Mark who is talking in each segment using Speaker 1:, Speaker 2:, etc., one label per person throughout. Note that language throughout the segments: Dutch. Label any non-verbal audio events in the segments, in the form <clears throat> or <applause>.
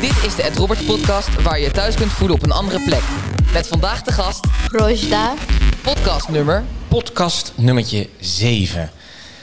Speaker 1: Dit is de Ed Roberts podcast waar je je thuis kunt voelen op een andere plek. Met vandaag de gast,
Speaker 2: Rojda.
Speaker 1: podcast nummer.
Speaker 3: podcast nummertje 7.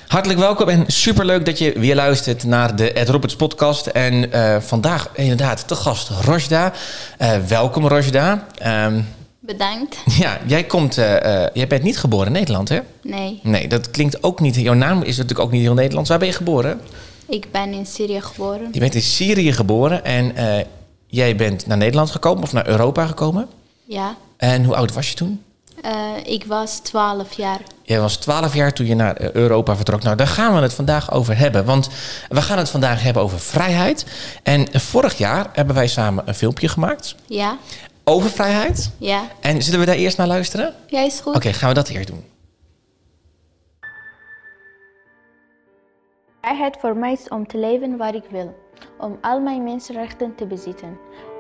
Speaker 3: Hartelijk welkom en superleuk dat je weer luistert naar de Ed Roberts podcast. En eh, vandaag inderdaad te gast Rojda. Eh, welkom Rojda. Ehm, <laughs>
Speaker 2: Bedankt.
Speaker 3: ja, jij, komt, eh, eh, jij bent niet geboren in Nederland hè?
Speaker 2: Nee,
Speaker 3: Nee, dat klinkt ook niet. Jouw naam is natuurlijk ook niet heel Nederlands. Waar ben je geboren?
Speaker 2: ik ben in Syrië geboren.
Speaker 3: Je bent in Syrië geboren en eh, jij bent naar Nederland gekomen of naar Europa gekomen.
Speaker 2: Ja,
Speaker 3: En hoe oud was je toen?
Speaker 2: Eh, ik was 12 jaar.
Speaker 3: Jij was 12 jaar toen je naar eh, Europa vertrok. Nou, daar gaan we het vandaag over hebben. Want we gaan het vandaag hebben over vrijheid. En eh, vorig jaar hebben wij samen een filmpje gemaakt
Speaker 2: Ja,
Speaker 3: over vrijheid.
Speaker 2: ja.
Speaker 3: En zullen we daar eerst naar luisteren? Oké,
Speaker 2: Jij is goed.
Speaker 3: gaan we dat eerst doen.
Speaker 4: Vrijheid voor mij is om te leven waar ik wil, om al mijn mensenrechten te bezitten,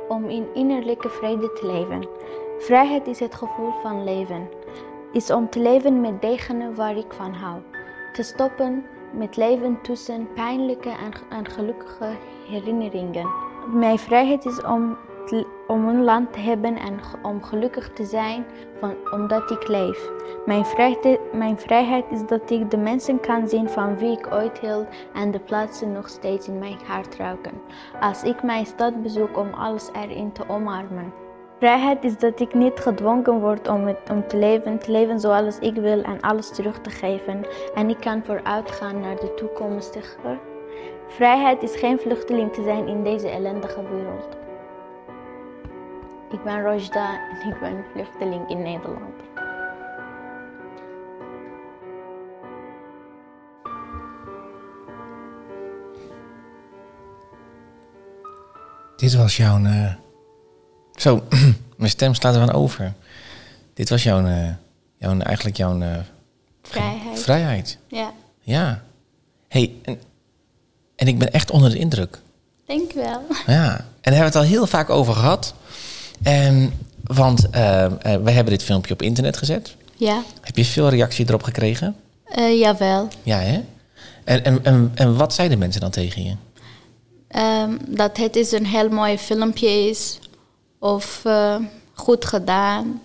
Speaker 4: om in innerlijke vrede te leven. Vrijheid is het gevoel van leven, is om te leven met degene waar ik van hou, te stoppen met leven tussen pijnlijke en, en gelukkige herinneringen. Mijn vrijheid is om, te- om een land te hebben en ge- om gelukkig te zijn van, omdat ik leef. Mijn vrijheid, mijn vrijheid is dat ik de mensen kan zien van wie ik ooit hield en de plaatsen nog steeds in mijn hart ruiken. Als ik mijn stad bezoek om alles erin te omarmen. Vrijheid is dat ik niet gedwongen word om, het, om te leven, te leven zoals ik wil en alles terug te geven. En ik kan vooruit gaan naar de toekomstige. Vrijheid is geen vluchteling te zijn in deze ellendige wereld. Ik ben Rojda en ik ben vluchteling in Nederland.
Speaker 3: Dit was jouw... eh, Zo, <clears throat> mijn stem slaat er van over. Dit was jouw... eh, jouw eigenlijk jouw... eh,
Speaker 2: Vrijheid.
Speaker 3: Vrijheid,
Speaker 2: ja,
Speaker 3: ja. hey, en, en ik ben echt onder de indruk.
Speaker 2: denk wel.
Speaker 3: Ja, en daar hebben we het al heel vaak over gehad. Ehm, want ehm, eh, we hebben dit filmpje op internet gezet.
Speaker 2: Ja,
Speaker 3: Heb je veel reactie erop gekregen?
Speaker 2: Eh, jawel.
Speaker 3: Ja, hè? En, en, en, en wat zeiden mensen dan tegen je?
Speaker 2: Ehm, dat het is een heel mooi filmpje is. Of eh, goed gedaan.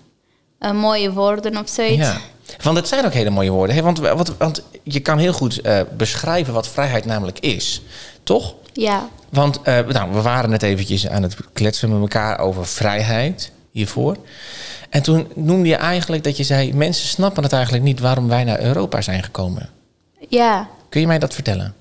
Speaker 2: Eh, mooie woorden of zoiets.
Speaker 3: Ja. Want het zijn ook hele mooie woorden. Hè? Want, want, want je kan heel goed eh, beschrijven wat vrijheid namelijk is. Toch?
Speaker 2: ja.
Speaker 3: Want eh, nou, we waren net eventjes aan het kletsen met elkaar over vrijheid hiervoor. En toen noemde je eigenlijk dat je zei... mensen snappen het eigenlijk niet waarom wij naar Europa zijn gekomen.
Speaker 2: Ja.
Speaker 3: Kun je mij dat vertellen?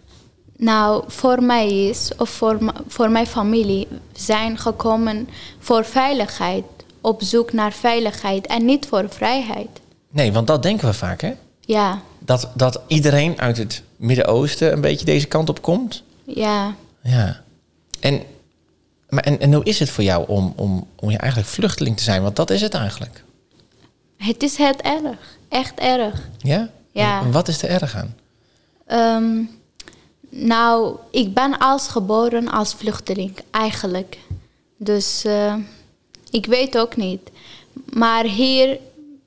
Speaker 2: Nou, voor mij is, of voor, m- voor mijn familie, zijn gekomen voor veiligheid. Op zoek naar veiligheid en niet voor vrijheid.
Speaker 3: Nee, want dat denken we vaak, hè?
Speaker 2: Ja,
Speaker 3: Dat, dat iedereen uit het Midden-Oosten een beetje deze kant op komt.
Speaker 2: ja.
Speaker 3: Ja. En, maar, en, en hoe is het voor jou om, om, om je eigenlijk vluchteling te zijn? Want dat is het eigenlijk.
Speaker 2: Het is heel erg. Echt erg.
Speaker 3: Ja?
Speaker 2: Ja.
Speaker 3: En wat is er erg aan?
Speaker 2: Ehm, nou, ik ben als geboren als vluchteling, eigenlijk. Dus eh, ik weet ook niet. Maar hier,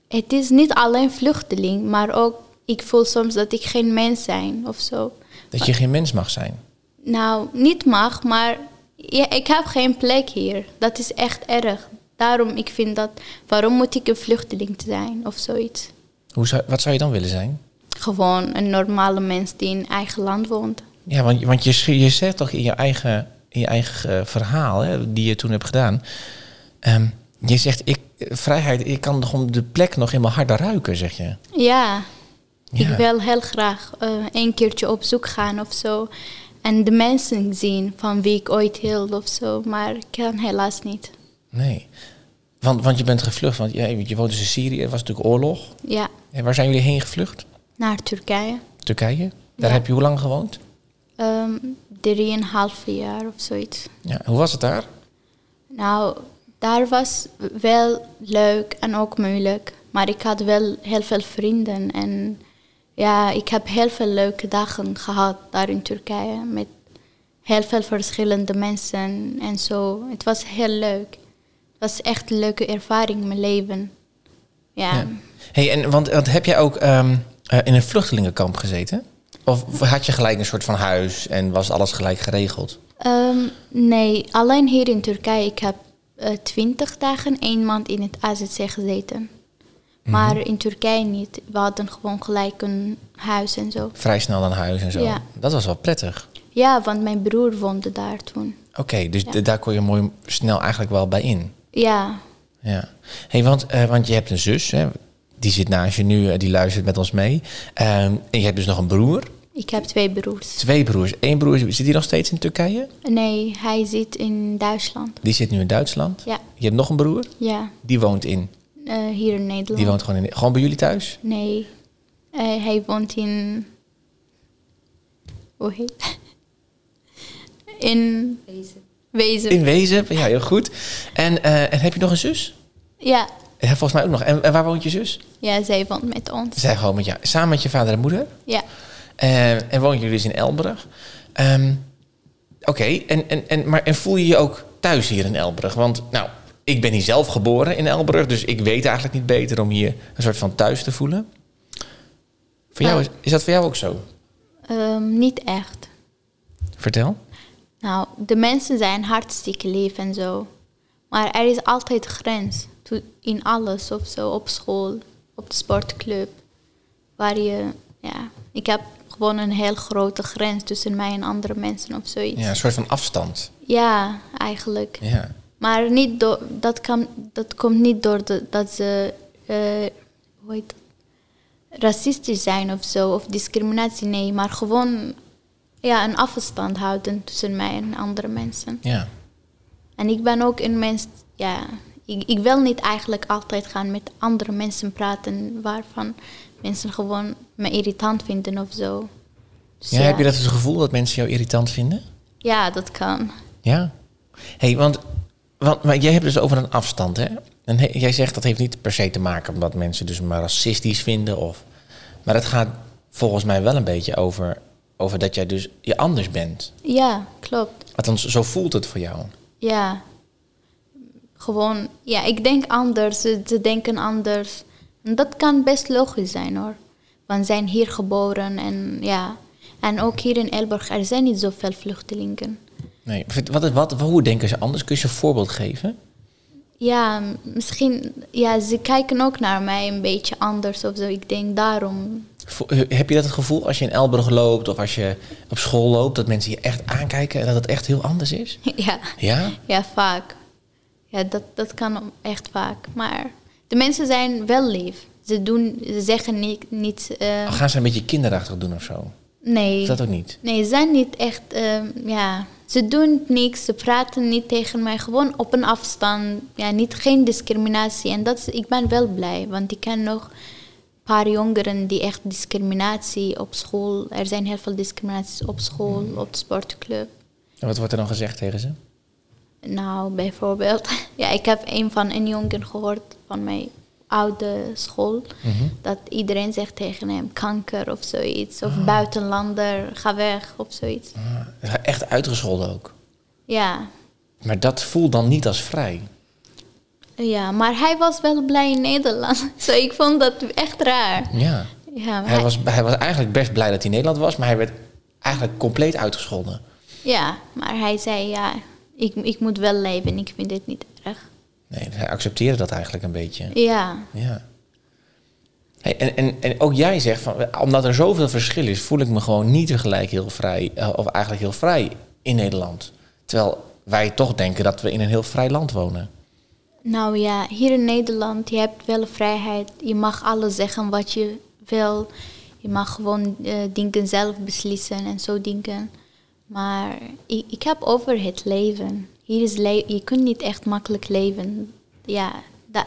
Speaker 2: het is niet alleen vluchteling, maar ook, ik voel soms dat ik geen mens ben of zo.
Speaker 3: Dat je geen mens mag zijn.
Speaker 2: Nou, niet mag, maar ja, ik heb geen plek hier. Dat is echt erg. Daarom, ik vind dat, waarom moet ik een vluchteling zijn of zoiets?
Speaker 3: Hoe zou, wat zou je dan willen zijn?
Speaker 2: Gewoon een normale mens die in eigen land woont.
Speaker 3: Ja, want, want je, sch- je zegt toch in je eigen, in je eigen eh, verhaal, hè, die je toen hebt gedaan. ehm, je zegt, ik, eh, vrijheid, ik kan gewoon de plek nog in mijn hart ruiken, zeg je.
Speaker 2: Ja,
Speaker 3: Ja.
Speaker 2: ik wil heel graag eh, een keertje op zoek gaan of zo. En de mensen zien van wie ik ooit hield of zo. Maar ik kan helaas niet.
Speaker 3: Nee. Want, want je bent gevlucht, want je, je woont dus in Syrië, er was natuurlijk oorlog.
Speaker 2: Ja,
Speaker 3: En waar zijn jullie heen gevlucht?
Speaker 2: naar Turkije.
Speaker 3: Turkije. Daar heb je hoe lang gewoond?
Speaker 2: Ehm drieënhalf jaar of zoiets.
Speaker 3: Ja, hoe was het daar?
Speaker 2: Nou, daar was wel leuk en ook moeilijk. Maar ik had wel heel veel vrienden. En ja, ik heb heel veel leuke dagen gehad daar in Turkije. Met heel veel verschillende mensen en zo. Het was heel leuk. Het was echt een leuke ervaring, mijn leven. Ja.
Speaker 3: Ja. Hey, en want, want heb jij ook ehm, eh, in een vluchtelingenkamp gezeten? Of had je gelijk een soort van huis en was alles gelijk geregeld?
Speaker 2: Ehm, nee, alleen hier in Turkije. Ik heb eh, twintig dagen één maand in het AZC gezeten.
Speaker 3: Mhm.
Speaker 2: Maar in Turkije niet. We hadden gewoon gelijk een huis en zo.
Speaker 3: Vrij snel naar huis en zo.
Speaker 2: Ja.
Speaker 3: Dat was wel prettig.
Speaker 2: Ja, want mijn broer woonde daar toen.
Speaker 3: Oké, dus d- daar kon je mooi snel eigenlijk wel bij in.
Speaker 2: Ja,
Speaker 3: Ja. Hey, want, eh, want je hebt een zus, hè? die zit naast je nu, eh, die luistert met ons mee. Ehm, en je hebt dus nog een broer,
Speaker 2: ik heb twee broers.
Speaker 3: twee broers. Eén broer zit die nog steeds in Turkije,
Speaker 2: Nee, hij zit in Duitsland.
Speaker 3: die zit nu in Duitsland.
Speaker 2: Ja,
Speaker 3: Je hebt nog een broer,
Speaker 2: ja.
Speaker 3: die woont in,
Speaker 2: Eh, hier in Nederland.
Speaker 3: die woont gewoon, in, gewoon bij jullie thuis.
Speaker 2: Nee, Eh, hij woont in... Hoe heet <laughs> In
Speaker 5: Wezen.
Speaker 2: Wezen.
Speaker 3: In Wezen, ja heel goed. En, eh, en heb je nog een zus?
Speaker 2: Ja.
Speaker 3: Ja, volgens mij ook nog. En, en waar woont je zus?
Speaker 2: ja, zij woont met ons.
Speaker 3: Zij gewoon met jou, samen met je vader en moeder.
Speaker 2: Ja.
Speaker 3: Eh, en woon jullie dus in Elburg. Ehm, Oké, en, en, en, maar en voel je je ook thuis hier in Elburg? Want nou, ik ben hier zelf geboren in Elburg, dus ik weet eigenlijk niet beter om hier een soort van thuis te voelen. Voor jou is, is dat voor jou ook zo?
Speaker 2: Ehm, niet echt.
Speaker 3: Vertel.
Speaker 2: Nou, de mensen zijn hartstikke lief en zo. Maar er is altijd grens. To- In alles of zo. Op school, op de sportclub. Waar je, ja. Ik heb gewoon een heel grote grens tussen mij en andere mensen of zoiets.
Speaker 3: Ja, een soort van afstand.
Speaker 2: Ja, eigenlijk.
Speaker 3: Ja.
Speaker 2: Maar niet door, dat, kan, dat komt niet door de- dat ze eh, hoe heet dat? racistisch zijn of zo, of discriminatie, nee. Maar gewoon ja, een afstand houden tussen mij en andere mensen.
Speaker 3: ja.
Speaker 2: En ik ben ook een mens, ja, ik, ik wil niet eigenlijk altijd gaan met andere mensen praten waarvan mensen gewoon me irritant vinden of zo. Dus
Speaker 3: ja. Heb je dat het gevoel dat mensen jou irritant vinden?
Speaker 2: Ja, dat kan.
Speaker 3: Ja. hey, want, want maar jij hebt dus over een afstand, hè? En he- jij zegt dat heeft niet per se te maken omdat mensen dus maar racistisch vinden of... Maar het gaat volgens mij wel een beetje over, over dat jij dus je anders bent.
Speaker 2: Ja, klopt.
Speaker 3: Althans, zo voelt het voor jou.
Speaker 2: Ja. Gewoon, ja, ik denk anders. Ze ze denken anders. En dat kan best logisch zijn hoor. Want ze zijn hier geboren en ja. En ook hier in Elburg, er zijn niet zoveel vluchtelingen.
Speaker 3: Nee, vind- wat, wat, hoe denken ze anders? Kun je ze een voorbeeld geven?
Speaker 2: Ja, m- misschien, ja, ze kijken ook naar mij een beetje anders of zo. Ik denk daarom. <laughs>
Speaker 3: Vo- eh, Heb je dat het gevoel als je in Elburg loopt of als je op school loopt... dat mensen je echt aankijken en dat het echt heel anders is?
Speaker 2: ja.
Speaker 3: Ja?
Speaker 2: ja, vaak. Ja, dat, dat kan echt vaak. Maar de mensen zijn wel lief. Ze, doen, ze zeggen niet. niet eh,
Speaker 3: Of gaan ze een beetje kinderachtig doen of zo?
Speaker 2: nee.
Speaker 3: Is dat ook niet?
Speaker 2: Nee, ze zijn niet echt, ehm, ja. Ze doen niks, ze praten niet tegen mij, gewoon op een afstand. Ja, niet, geen discriminatie. En dat is, ik ben wel blij, want ik ken nog een paar jongeren die echt discriminatie op school. Er zijn heel veel discriminaties op school,
Speaker 3: Hmm.
Speaker 2: op de sportclub.
Speaker 3: En wat wordt er dan gezegd tegen ze?
Speaker 2: Nou, bijvoorbeeld, <laughs> ja, ik heb een van een jongen gehoord van mijn oude school.
Speaker 3: Mhm.
Speaker 2: Dat iedereen zegt tegen hem kanker of zoiets. Of buitenlander, ga weg of zoiets.
Speaker 3: Ah, Echt uitgescholden ook.
Speaker 2: Ja,
Speaker 3: Maar dat voelt dan niet als vrij.
Speaker 2: ja, maar hij was wel blij in Nederland. <laughs> Zo, ik vond dat echt raar.
Speaker 3: Ja.
Speaker 2: Ja, maar
Speaker 3: Hij
Speaker 2: hij-
Speaker 3: was, hij was eigenlijk best blij dat hij in Nederland was, maar hij werd eigenlijk compleet uitgescholden.
Speaker 2: ja, maar hij zei, ja, ik, ik moet wel leven, ik vind dit niet erg.
Speaker 3: Nee, hij accepteerde dat eigenlijk een beetje.
Speaker 2: Ja,
Speaker 3: Ja. Hey, en, en, en ook jij zegt, van, omdat er zoveel verschil is, voel ik me gewoon niet tegelijk heel vrij, eh, of eigenlijk heel vrij in Nederland. Terwijl wij toch denken dat we in een heel vrij land wonen.
Speaker 2: nou ja, hier in Nederland, je hebt wel vrijheid. Je mag alles zeggen wat je wil. Je mag gewoon eh, dingen zelf beslissen en zo dingen. Maar ik, ik heb over het leven. Hier is le- je kunt niet echt makkelijk leven. Ja, da-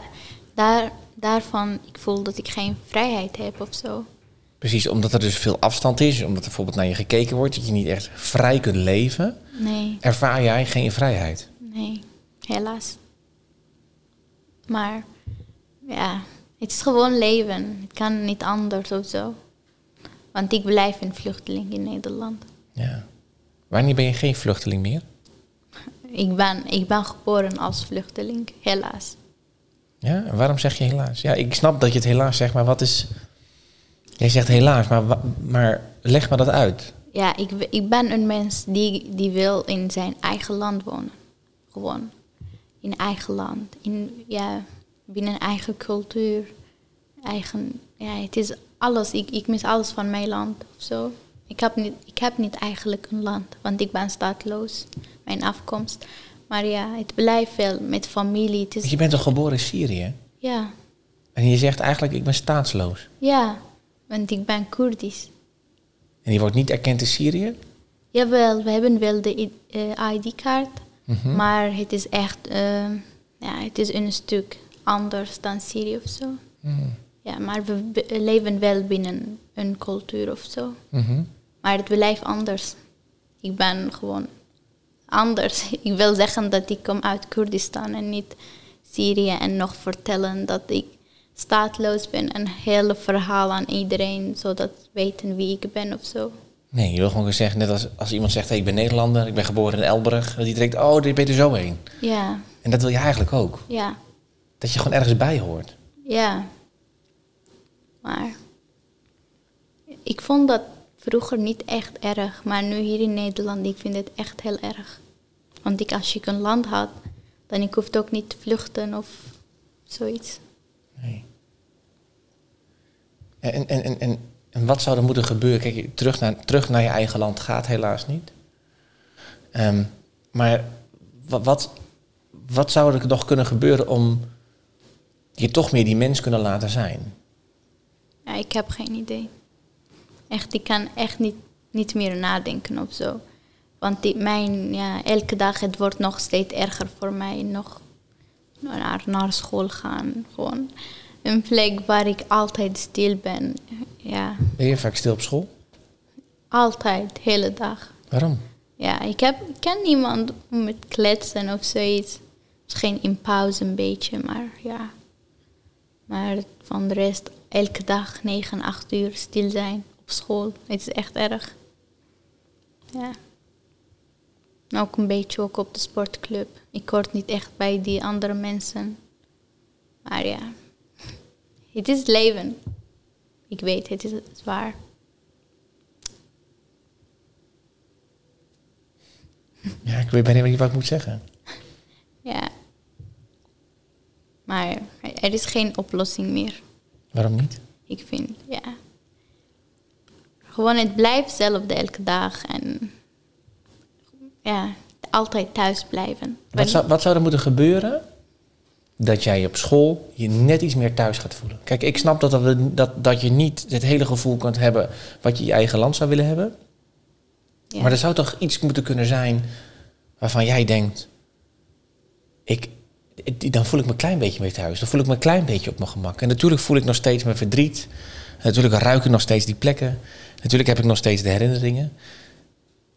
Speaker 2: daar, daarvan ik voel dat ik geen vrijheid heb of zo.
Speaker 3: Precies, omdat er dus veel afstand is, omdat er bijvoorbeeld naar je gekeken wordt, dat je niet echt vrij kunt leven,
Speaker 2: Nee,
Speaker 3: ervaar jij geen vrijheid.
Speaker 2: nee, helaas. Maar ja, het is gewoon leven. Het kan niet anders of zo. Want ik blijf een vluchteling in Nederland.
Speaker 3: Ja. Wanneer ben je geen vluchteling meer?
Speaker 2: Ik ben, ik ben geboren als vluchteling, helaas.
Speaker 3: Ja, en waarom zeg je helaas? Ja, ik snap dat je het helaas zegt, maar wat is... Jij zegt helaas, maar, wa- maar leg me dat uit.
Speaker 2: ja, ik, w- ik ben een mens die, die wil in zijn eigen land wonen. Gewoon. In eigen land. In, ja, binnen eigen cultuur. Eigen, ja, het is alles. Ik, ik mis alles van mijn land of zo. Ik heb, niet, ik heb niet eigenlijk een land, want ik ben staatloos. Mijn afkomst. Maar ja, het blijft wel met familie. Het
Speaker 3: Want
Speaker 2: is,
Speaker 3: je bent toch geboren in Syrië?
Speaker 2: ja,
Speaker 3: En je zegt eigenlijk, ik ben staatsloos.
Speaker 2: ja, want ik ben Koerdisch.
Speaker 3: En je wordt niet erkend in Syrië?
Speaker 2: Jawel, we hebben wel de i- eh, ID-kaart, maar het is echt eh, ja, het is een stuk anders dan Syrië of zo. Ja, maar we be- leven wel binnen een cultuur of zo.
Speaker 3: Mhm.
Speaker 2: Maar het blijft anders. Ik ben gewoon anders. <laughs> Ik wil zeggen dat ik kom uit Koerdistan en niet Syrië en nog vertellen dat ik staatloos ben en hele verhaal aan iedereen zodat ze weten wie ik ben of zo.
Speaker 3: Nee, je wil gewoon zeggen, net als, als iemand zegt, hey, ik ben Nederlander, ik ben geboren in Elburg. Dat iedereen denkt, oh, dit ben je er zo heen.
Speaker 2: Ja,
Speaker 3: En dat wil je eigenlijk ook.
Speaker 2: ja.
Speaker 3: Dat je gewoon ergens bij hoort.
Speaker 2: Ja. Maar ik vond dat vroeger niet echt erg, maar nu hier in Nederland, ik vind het echt heel erg. Want ik, als ik een land had, dan ik hoefde ook niet te vluchten of zoiets.
Speaker 3: Nee. En, en, en, en, en wat zou er moeten gebeuren? Kijk, je- terug naar, terug naar je eigen land gaat helaas niet. Ehm, maar wa- wat, wat zou er nog kunnen gebeuren om je toch meer die mens kunnen laten zijn?
Speaker 2: Ja, ik heb geen idee. Echt, ik kan echt niet, niet meer nadenken of zo. Want die, mijn, ja, elke dag het wordt nog steeds erger voor mij. Nog naar, naar school gaan. Gewoon een plek waar ik altijd stil ben. Ja,
Speaker 3: Ben je vaak stil op school?
Speaker 2: altijd, de hele dag.
Speaker 3: Waarom?
Speaker 2: Ja, ik, heb, ik ken niemand om met kletsen of zoiets. Misschien in pauze een beetje, maar ja. Maar van de rest, elke dag 9, 8 uur stil zijn op school. Het is echt erg. Ja. En ook een beetje ook op de sportclub. Ik hoort niet echt bij die andere mensen. Maar ja, <laughs> het is leven. Ik weet, het is zwaar.
Speaker 3: Ja, ik weet bijna niet wat ik moet zeggen.
Speaker 2: Ja. Maar er is geen oplossing meer,
Speaker 3: Waarom niet?
Speaker 2: ik vind. Ja. Gewoon het blijft hetzelfde elke dag en ja, altijd thuis blijven.
Speaker 3: Wat zou, wat zou er moeten gebeuren dat jij op school je net iets meer thuis gaat voelen? Kijk, ik snap dat, dat, dat, dat je niet het hele gevoel kunt hebben wat je in je eigen land zou willen hebben.
Speaker 2: Ja.
Speaker 3: Maar er zou toch iets moeten kunnen zijn waarvan jij denkt, ik, ik- dan voel ik me een klein beetje meer thuis. Dan voel ik me een klein beetje op mijn gemak. En natuurlijk voel ik nog steeds mijn verdriet. Natuurlijk ruik ik nog steeds die plekken. Natuurlijk heb ik nog steeds de herinneringen.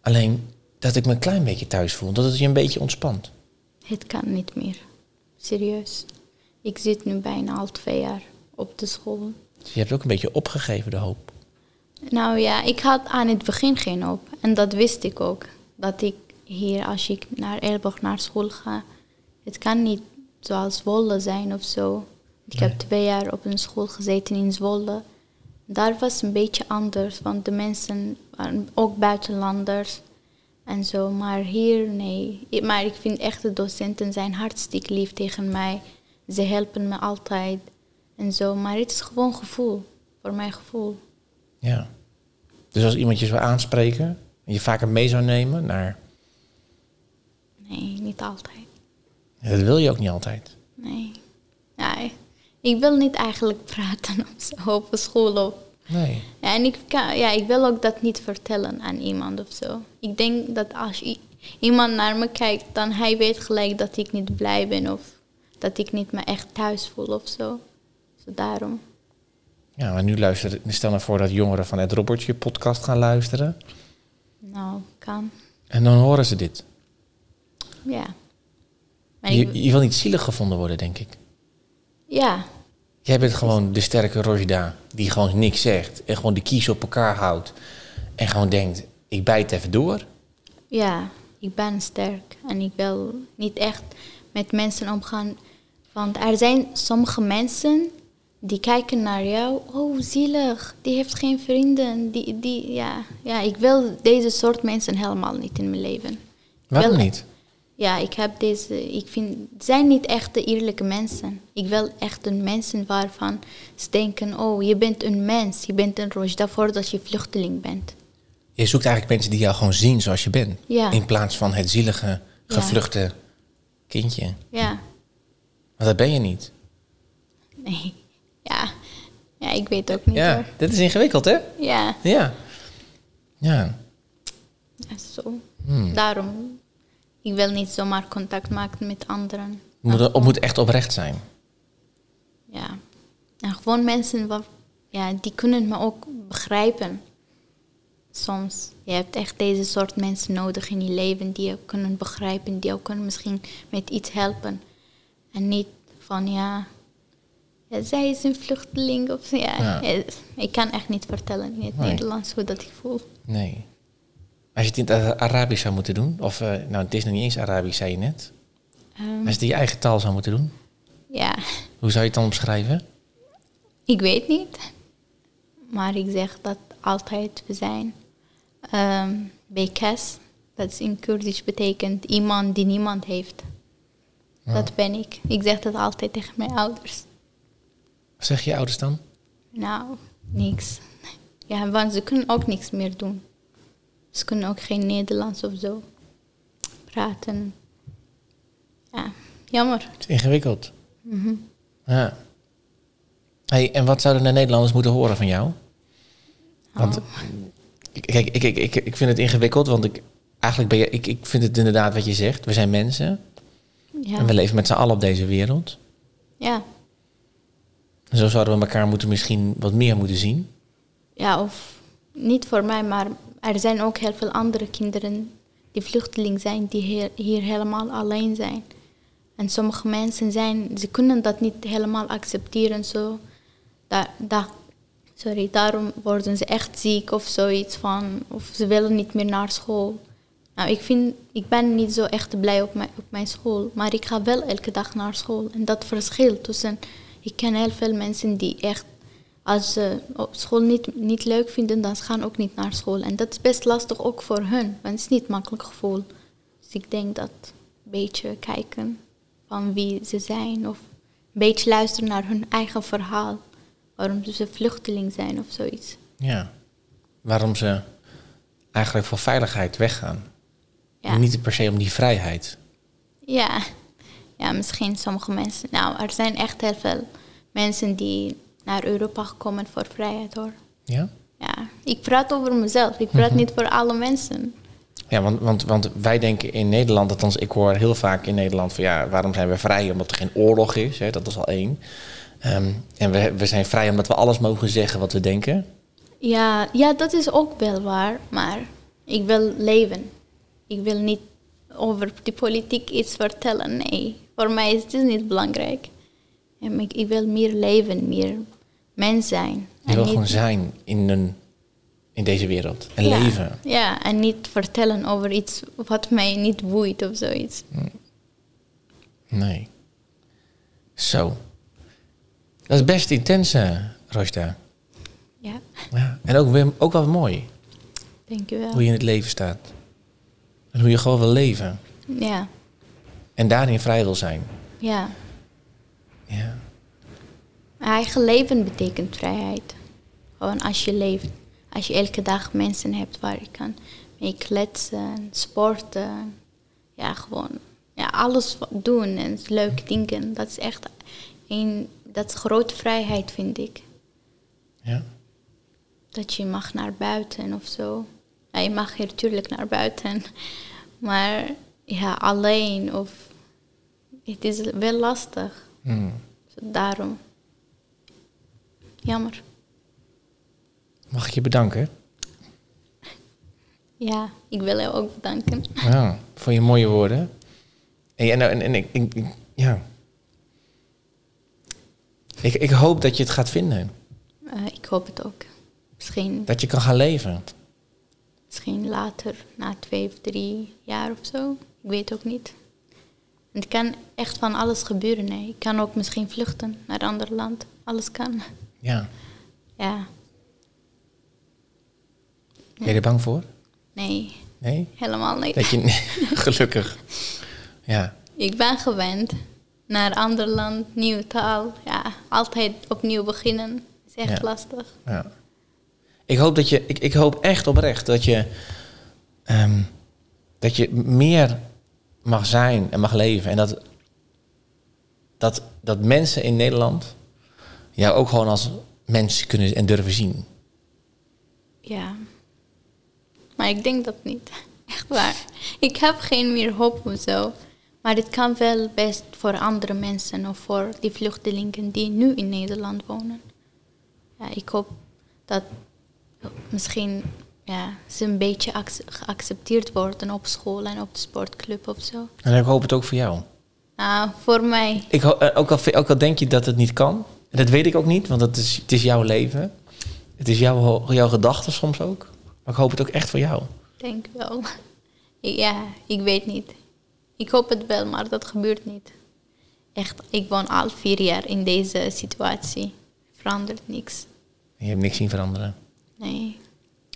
Speaker 3: Alleen dat ik me een klein beetje thuis voel. Dat het je een beetje ontspant.
Speaker 2: Het kan niet meer. Serieus. Ik zit nu bijna al twee jaar op de school.
Speaker 3: Dus je hebt ook een beetje opgegeven de hoop.
Speaker 2: Nou ja, ik had aan het begin geen hoop. En dat wist ik ook. Dat ik hier, als ik naar Elburg naar school ga, het kan niet zoals Zwolle zijn of zo. Ik heb twee jaar op een school gezeten in Zwolle. Daar was het een beetje anders, want de mensen waren ook buitenlanders en zo. Maar hier, nee. Ik- Maar ik vind echt de docenten zijn hartstikke lief tegen mij. Ze helpen me altijd en zo. Maar het is gewoon gevoel, voor mijn gevoel.
Speaker 3: Ja. Dus als iemand je zou aanspreken en je vaker mee zou nemen nou, naar...
Speaker 2: Nee, niet altijd.
Speaker 3: Ja, dat wil je ook niet altijd.
Speaker 2: Nee. nee. Ik wil niet eigenlijk praten <laughs> op, zo- op school. Of,
Speaker 3: Nee.
Speaker 2: ja, en ik, kan, ja, ik wil ook dat niet vertellen aan iemand of zo. Ik denk dat als i- iemand naar me kijkt, dan hij weet gelijk dat ik niet blij ben of dat ik niet me echt thuis voel of zo. Zo daarom.
Speaker 3: Ja, maar nu luister, stel nou voor dat jongeren van het Robertje podcast gaan luisteren.
Speaker 2: Nou, kan.
Speaker 3: En dan horen ze dit.
Speaker 2: Ja. Maar ik,
Speaker 3: Je, je wil niet zielig gevonden worden, denk ik.
Speaker 2: ja.
Speaker 3: Jij bent gewoon de sterke Rojda, die gewoon niks zegt. En gewoon de kies op elkaar houdt. En gewoon denkt, ik bijt even door.
Speaker 2: Ja, ik ben sterk en ik wil niet echt met mensen omgaan. Want er zijn sommige mensen Die kijken naar jou. Oh, zielig. Die heeft geen vrienden. Die, die, ja. ja, ik wil deze soort mensen helemaal niet in mijn leven.
Speaker 3: Waarom
Speaker 2: Wel-
Speaker 3: niet?
Speaker 2: Ja, ik heb deze. Ik vind. Het zijn niet echt de eerlijke mensen. Ik wil echt een mensen waarvan ze denken: oh, je bent een mens. Je bent een Rojda voordat je vluchteling bent.
Speaker 3: Je zoekt eigenlijk mensen die jou gewoon zien zoals je bent.
Speaker 2: Ja.
Speaker 3: In plaats van het zielige, gevluchte kindje.
Speaker 2: Ja.
Speaker 3: Want dat ben je niet.
Speaker 2: Nee. Ja. Ja, ik weet ook niet
Speaker 3: Ja,
Speaker 2: hoor.
Speaker 3: dit is ingewikkeld, hè?
Speaker 2: Ja.
Speaker 3: Ja. Ja.
Speaker 2: ja, zo.
Speaker 3: Hmm.
Speaker 2: Daarom. Ik wil niet zomaar contact maken met anderen.
Speaker 3: Het moet, het moet echt oprecht zijn.
Speaker 2: Ja. En gewoon mensen waar, ja, die kunnen me ook begrijpen. Soms. Je hebt echt deze soort mensen nodig in je leven die je kunnen begrijpen, die ook kunnen misschien met iets helpen. En niet van ja, ja, zij is een vluchteling of ja.
Speaker 3: Ja.
Speaker 2: eh, Ik kan echt niet vertellen in het
Speaker 3: Nee.
Speaker 2: Nederlands hoe dat ik voel.
Speaker 3: Nee. Als je het in het Arabisch zou moeten doen, of eh, nou, het is nog niet eens Arabisch, zei je net.
Speaker 2: Ehm,
Speaker 3: Als je het in je eigen taal zou moeten doen,
Speaker 2: ja, <laughs>
Speaker 3: hoe zou je het dan omschrijven?
Speaker 2: ik weet niet. Maar ik zeg dat altijd we zijn. Ehm bekes, dat is in Koerdisch betekent iemand die niemand heeft. Dat ben ik. Ik zeg dat altijd tegen mijn ouders.
Speaker 3: Wat zeg je ouders dan?
Speaker 2: Nou, niks. <laughs> Ja, want ze kunnen ook niks meer doen. Ze kunnen ook geen Nederlands of zo praten. Ja, jammer.
Speaker 3: Het is ingewikkeld. Ja. Hey, en wat zouden de Nederlanders moeten horen van jou? Want
Speaker 2: Oh.
Speaker 3: ik- kijk, ik, ik, ik, ik vind het ingewikkeld, want ik, eigenlijk ben je, ik, ik vind het inderdaad wat je zegt. We zijn mensen en
Speaker 2: Ja.
Speaker 3: we leven met z'n allen op deze wereld.
Speaker 2: ja.
Speaker 3: En zo zouden we elkaar moeten misschien wat meer moeten zien.
Speaker 2: ja, of niet voor mij, maar er zijn ook heel veel andere kinderen die vluchteling zijn, die hier, hier helemaal alleen zijn. En sommige mensen zijn, ze kunnen dat niet helemaal accepteren. Zo. Daar, daar, sorry, daarom worden ze echt ziek of zoiets van, of ze willen niet meer naar school. Nou, ik, vind, ik ben niet zo echt blij op mijn, op mijn school, maar ik ga wel elke dag naar school. En dat verschil tussen, ik ken heel veel mensen die echt als ze op school niet, niet leuk vinden, dan ze gaan ook niet naar school. En dat is best lastig ook voor hun, want het is niet een makkelijk gevoel. Dus ik denk dat een beetje kijken van wie ze zijn of een beetje luisteren naar hun eigen verhaal. Waarom ze vluchteling zijn of zoiets.
Speaker 3: Ja. Waarom ze eigenlijk voor veiligheid weggaan.
Speaker 2: Ja.
Speaker 3: Niet per se om die vrijheid.
Speaker 2: Ja. ja, misschien sommige mensen. Nou, er zijn echt heel veel mensen die naar Europa komen voor vrijheid hoor.
Speaker 3: Ja?
Speaker 2: Ja, ik praat over mezelf. Ik praat
Speaker 3: Mhm.
Speaker 2: niet voor alle mensen.
Speaker 3: Ja, want, want, want wij denken in Nederland, althans ik hoor heel vaak in Nederland van ja, waarom zijn we vrij? Omdat er geen oorlog is, hè, dat is al één. Ehm, en we, we zijn vrij omdat we alles mogen zeggen wat we denken.
Speaker 2: Ja, ja, dat is ook wel waar, maar ik wil leven. Ik wil niet over de politiek iets vertellen, nee. Voor mij is dit niet belangrijk. En ik, ik wil meer leven, meer mens zijn.
Speaker 3: Je wil
Speaker 2: niet-
Speaker 3: gewoon zijn in, een, in deze wereld en
Speaker 2: Ja,
Speaker 3: leven.
Speaker 2: Ja, en niet vertellen over iets wat mij niet boeit of zoiets.
Speaker 3: Nee. Zo. Dat is best intens, eh, Rojda.
Speaker 2: Ja,
Speaker 3: Ja. En ook, weer- ook wel mooi hoe
Speaker 2: dankjewel.
Speaker 3: je in het leven staat. En hoe je gewoon wil leven.
Speaker 2: Ja,
Speaker 3: En daarin vrij wil zijn.
Speaker 2: ja.
Speaker 3: Ja.
Speaker 2: Eigen leven betekent vrijheid. Gewoon als je leeft. Als je elke dag mensen hebt waar je kan mee kletsen, sporten. Ja, gewoon ja, alles wat doen en leuk dingen. Dat is echt een, dat is grote vrijheid, vind ik.
Speaker 3: ja.
Speaker 2: Dat je mag naar buiten of zo. Ja, je mag hier natuurlijk naar buiten. <laughs> Maar ja, alleen of... Het is wel lastig. Dus
Speaker 3: Hmm.
Speaker 2: Daarom. Jammer.
Speaker 3: Mag ik je bedanken?
Speaker 2: Ja, ik wil jou ook bedanken. <laughs>
Speaker 3: Ja, voor je mooie woorden. En, ja, nou, en, en ik, ik, ik- ja. Ik, ik hoop dat je het gaat vinden.
Speaker 2: Eh, ik hoop het ook. Misschien,
Speaker 3: Dat je kan gaan leven.
Speaker 2: misschien later, na twee of drie jaar of zo. Ik weet ook niet. Het kan echt van alles gebeuren. Hè. Je kan ook misschien vluchten naar een ander land. Alles kan.
Speaker 3: Ja.
Speaker 2: Ja,
Speaker 3: Ben je er bang voor?
Speaker 2: nee,
Speaker 3: Nee?
Speaker 2: helemaal niet.
Speaker 3: Dat je... <laughs> Gelukkig. Ja.
Speaker 2: Ik ben gewend naar een ander land, nieuwe taal. Ja, altijd opnieuw beginnen is echt
Speaker 3: Ja.
Speaker 2: lastig.
Speaker 3: Ja. Ik hoop dat je, ik, ik hoop echt oprecht dat je, ehm, dat je meer mag zijn en mag leven. En dat, dat, dat mensen in Nederland jou ook gewoon als mens kunnen en durven zien.
Speaker 2: Ja. Maar ik denk dat niet. <laughs> Echt waar. Ik heb geen meer hoop of zo. Maar het kan wel best voor andere mensen of voor die vluchtelingen die nu in Nederland wonen. Ja, ik hoop dat misschien ja, ze een beetje ac- geaccepteerd worden op school en op de sportclub of zo.
Speaker 3: En ik hoop het ook voor jou.
Speaker 2: Nou, voor mij,
Speaker 3: Ik, ho- eh, ook, al, vi- ook al denk je dat het niet kan, en dat weet ik ook niet, want het is, het is jouw leven. Het is jouw, ho- jouw gedachten soms ook. Maar ik hoop het ook echt voor jou.
Speaker 2: denk ik wel. <laughs> Ja, ik weet niet. Ik hoop het wel, maar dat gebeurt niet. Echt, ik woon al vier jaar in deze situatie. Verandert niks.
Speaker 3: Je hebt niks zien veranderen.
Speaker 2: Nee.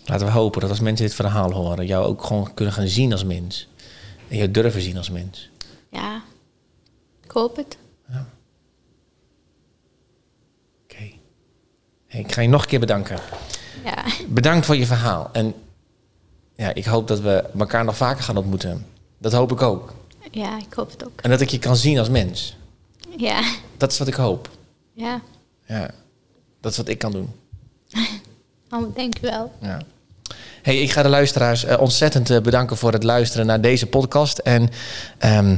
Speaker 3: Laten we hopen dat als mensen dit verhaal horen, jou ook gewoon kunnen gaan zien als mens. En jou durven zien als mens.
Speaker 2: Ja. Ik hoop het.
Speaker 3: Oké. Hey, ik ga je nog een keer bedanken.
Speaker 2: Ja. <laughs>
Speaker 3: Bedankt voor je verhaal. En ja, ik hoop dat we elkaar nog vaker gaan ontmoeten. Dat hoop ik ook.
Speaker 2: Ja, ik hoop het ook.
Speaker 3: En dat ik je kan zien als mens.
Speaker 2: Ja.
Speaker 3: Dat is wat ik hoop.
Speaker 2: Ja.
Speaker 3: Ja. Dat is wat ik kan doen.
Speaker 2: Oh, denk wel.
Speaker 3: Ja. Hey, ik ga de luisteraars eh, ontzettend eh, bedanken voor het luisteren naar deze podcast. En ehm,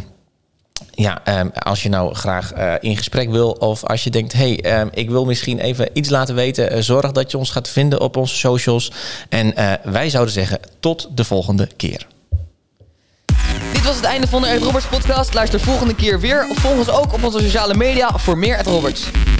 Speaker 3: ja, ehm, als je nou graag eh, in gesprek wil of als je denkt, hey, ehm, ik wil misschien even iets laten weten, eh, zorg dat je ons gaat vinden op onze socials. En eh, wij zouden zeggen, tot de volgende keer.
Speaker 1: Dit was het einde van de Ed Roberts podcast. Luister volgende keer weer. Of volg ons ook op onze sociale media voor meer Ed Roberts.